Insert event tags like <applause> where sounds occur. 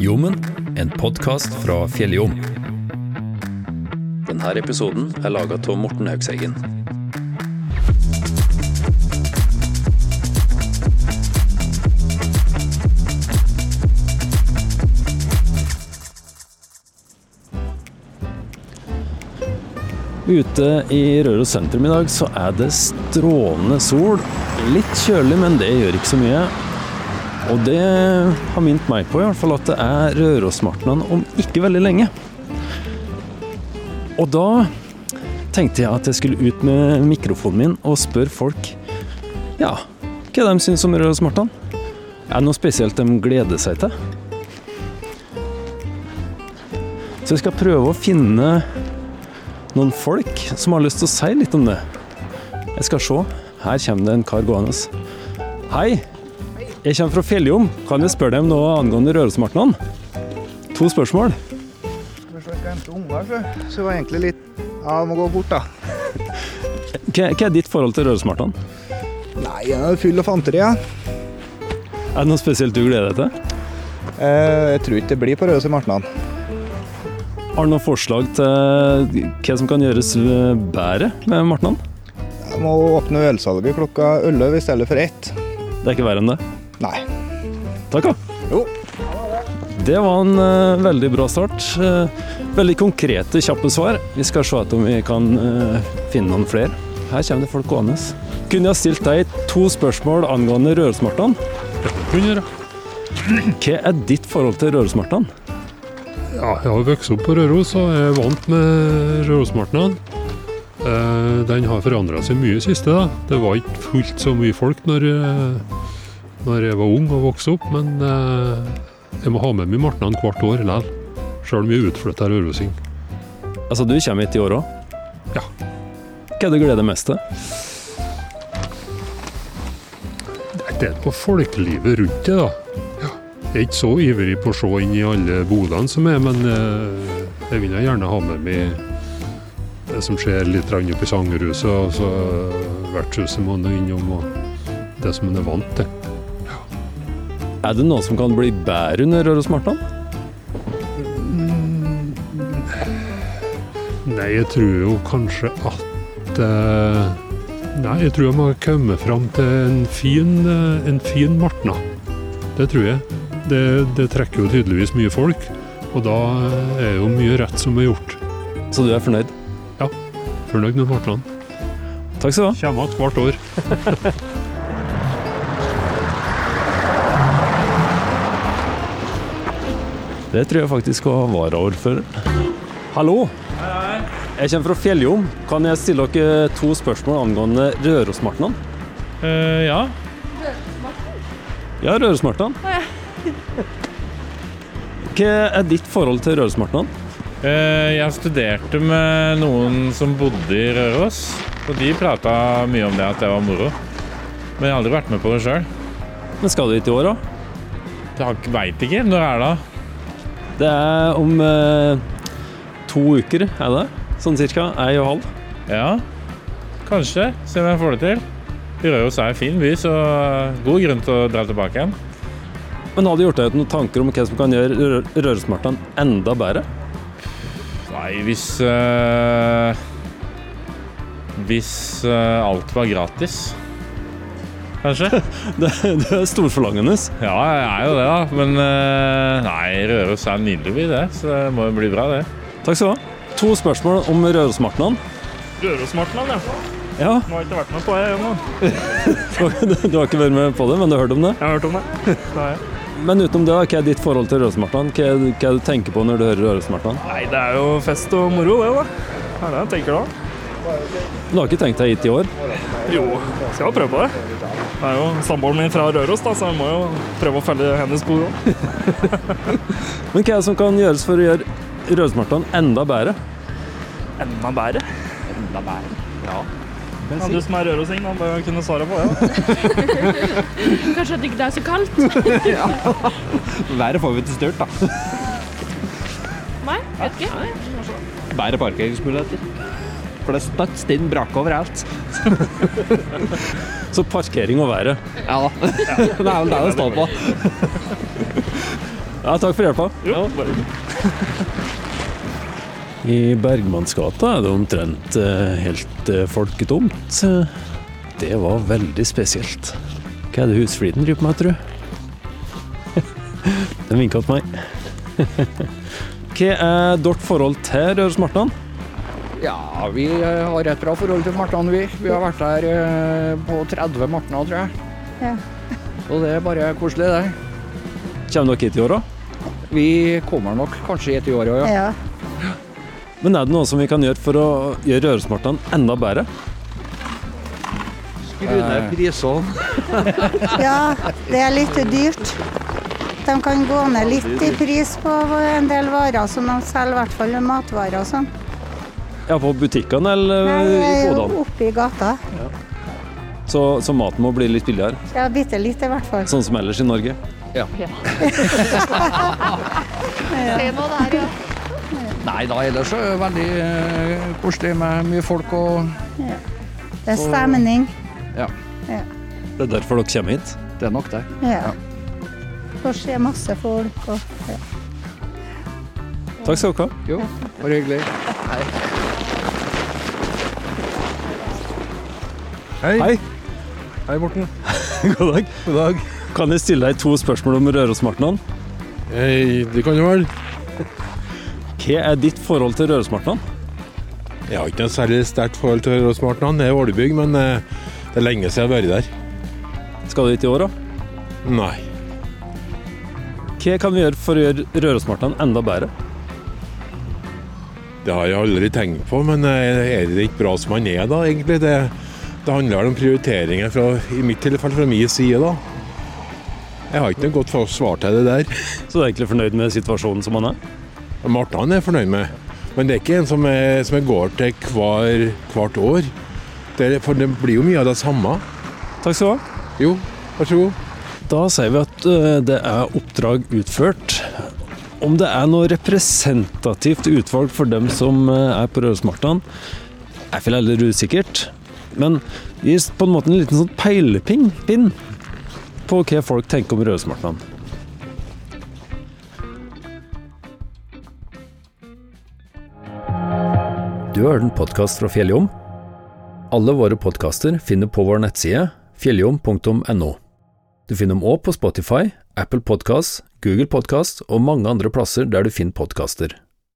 Jommen, en podkast fra Fjelljom. Denne episoden er laga av Morten Haugseggen. Ute i Røros sentrum i dag så er det strålende sol. Litt kjølig, men det gjør ikke så mye. Og det har minnet meg på i hvert fall at det er Rørosmartnan om ikke veldig lenge. Og da tenkte jeg at jeg skulle ut med mikrofonen min og spørre folk ja, hva de syns om Rørosmartnan. Er det noe spesielt de gleder seg til? Så jeg skal prøve å finne noen folk som har lyst til å si litt om det. Jeg skal se. Her kommer det en kar gående. Hei! Jeg kommer fra Fjelljom. Kan jeg spørre deg om noe angående Rørosmartnan? To spørsmål. Vi skal hente unger, altså. så. så det var egentlig litt Ja, jeg må gå bort, da. Hva hva er ditt forhold til Rørosmartnan? Nei, jeg er full av fanteri, ja. Er det noe spesielt du gleder deg til? Eh, jeg tror ikke det blir på Rødhus i Martnan. Har du noen forslag til hva som kan gjøres bedre med Martnan? Jeg må åpne ølsalget klokka 11 i stedet for ett. Det er ikke verre enn det. Nei. Takk, da. Jo. Det var en eh, veldig bra start. Eh, veldig konkrete, kjappe svar. Vi skal se etter om vi kan eh, finne noen flere. Her kommer det folk gående. Kunne jeg ha stilt deg to spørsmål angående Rørosmartnan? Kunne det. Hva er ditt forhold til Rørosmartnan? Ja, jeg har jo vokst opp på Røros og er vant med Rørosmartnan. Eh, Den har forandra seg mye i siste. da. Det var ikke fullt så mye folk når, eh, når jeg var ung og vokste opp, men eh, jeg må ha med meg Martnan hvert år likevel. Sjøl om jeg er utflytta rørosing. Altså, du kommer hit i år òg? Ja. Hva er det du gleder deg mest til? Det er på folkelivet rundt det, da. Ja. Jeg er ikke så ivrig på å se inn i alle bodene som er, men eh, jeg vil jo gjerne ha med meg det som skjer litt grann oppe i Sangerhuset, og så eh, vertshuset må en innom, og det som en er vant til. Er det noe som kan bli bedre under Rørosmartnan? Nei, jeg tror jo kanskje at eh, Nei, jeg tror jeg må komme fram til en fin, eh, en fin martna. Det tror jeg. Det, det trekker jo tydeligvis mye folk, og da eh, er jo mye rett som er gjort. Så du er fornøyd? Fornøyd med martnaen. Takk skal du ha. Kommer igjen hvert år. Det tror jeg faktisk var varaordfører. Hallo! Jeg kommer fra Fjelljom. Kan jeg stille dere to spørsmål angående Rørosmartnan? Eh, ja. Ja, Rørosmartnan. <laughs> Hva er ditt forhold til Rørosmartnan? Eh, jeg studerte med noen som bodde i Røros, og de prata mye om det at det var moro. Men jeg har aldri vært med på det sjøl. Men skal du hit i år, da? Jeg veit ikke. Når er det? da? Det er om eh, to uker, er det? Sånn cirka. Ei og halv. Ja, kanskje. Se om jeg får det til. Røros er en fin by, så eh, god grunn til å dra tilbake igjen. Men har du gjort deg noen tanker om hva som kan gjøre Rør- Rørosmartnan enda bedre? <laughs> Nei, hvis eh, Hvis eh, alt var gratis, kanskje. <laughs> Det, det er storforlangende. Ja, jeg er jo det, da. Men eh, nei, Røros er en nydelig by, det. Så det må jo bli bra, det. Takk skal du ha. To spørsmål om Rørosmartnan. Rørosmartland, ja. Ja, Nå har jeg ikke vært med på det ennå. <laughs> du har du har ikke vært med på det, men du har hørt om det? Jeg har hørt om det. det har jeg. Men utenom det, da, hva er ditt forhold til Rørosmartnan? Hva, er- hva er det du tenker på når du hører Rørosmartnan? <laughs> Nei, det er jo fest og moro, det, da. Er det det jeg tenker da? Du har ikke tenkt deg hit i år? Jo, skal jo prøve på det. Det er jo samboeren min fra Røros, da, så jeg må jo prøve å følge hennes spor òg. Men hva er det som kan gjøres for å gjøre Rørosmartnan enda bedre? Enda bedre. Enda bedre. Ja. du som er rørosing, da bør jo kunne svare på det. da. Kanskje at det ikke er så kaldt? Været får vi til styrt, da. Nei, vet ikke. Bedre parkeringsmuligheter. For det er støtt stinn brakk overalt. <laughs> Så <laughs> parkering og været. Ja da. Det er vel det det står på. Ja, takk for hjelpa. Jo, bare I Bergmannsgata er det omtrent eh, helt eh, folketomt. Eh, Det var veldig spesielt. Hva er det husfliden driver med, tror du? <laughs> Den vinka til meg. Hva er ditt forhold til Røros Martnan? Ja, vi eh, har et bra forhold til Martnan, vi. Vi har vært der eh, på 30 Martnan, tror jeg. Ja. Og det er bare koselig, det. Kommer dere hit i år, da? Vi kommer nok kanskje hit i år òg, ja. Ja. Men er det noe som vi kan gjøre for å gjøre Rørosmartnan enda bedre? Skru ned prisene. ja, det er litt dyrt. De kan gå ned litt i pris på en del varer som de selger, i hvert fall matvarer og sånn. Ja, på butikkene eller eh, Nei, Øh, i jeg er bodene? jo oppe i gata. Så, så maten må bli litt billigere, Ja, bitte litt i hvert fall. sånn som ellers i Norge. Nei da, ellers er det veldig eh, koselig med mye folk og Det er stemning. Det er derfor dere kommer hit. Det er nok det. Ja. Får se masse folk og ja. Takk skal dere ha. Jo, bare hyggelig. Hei. Hei. Hei, Morten. <laughs> God dag. God dag. Kan jeg stille deg to spørsmål om Rørosmartnan? Hei, det kan du vel? Hva er ditt forhold til Rørosmartnan? Jeg har ikke noe særlig sterkt forhold til Rosmartnan. Det er Ålebygg, men eh, det er lenge siden jeg har vært der. Skal du hit i år, da? Nei. Hva kan vi gjøre for å gjøre Rørosmartnan enda bedre? Det har jeg aldri tenkt på, men eh, er det ikke bra som man er da, egentlig? Det, det handler vel om prioriteringer fra, i mitt tilfelle, fra min side, da. Jeg har ikke noe godt for- svar til det der. Så du er egentlig fornøyd med situasjonen som han er? Martnan er jeg fornøyd med. Men det er ikke en som, er, som jeg går til hver, hvert år. Det, er- for det blir jo mye av det samme. Takk skal du ha. Jo, vær så god. Da sier vi at eh, det er oppdrag utført. Om det er noe representativt utvalg for dem som eh, er på Rørosmartnan, er vel heller usikkert. Men det gir på en måte en liten sånn peilepinn pinn på hva folk tenker om Rørosmartnan. Du har hørt en podkast fra Fjelljom. Alle våre podkaster finner på vår nettside fjelljom.no. Du finner dem òg på Spotify, Apple Podkast, Google Podkast og mange andre plasser der du finner podkaster.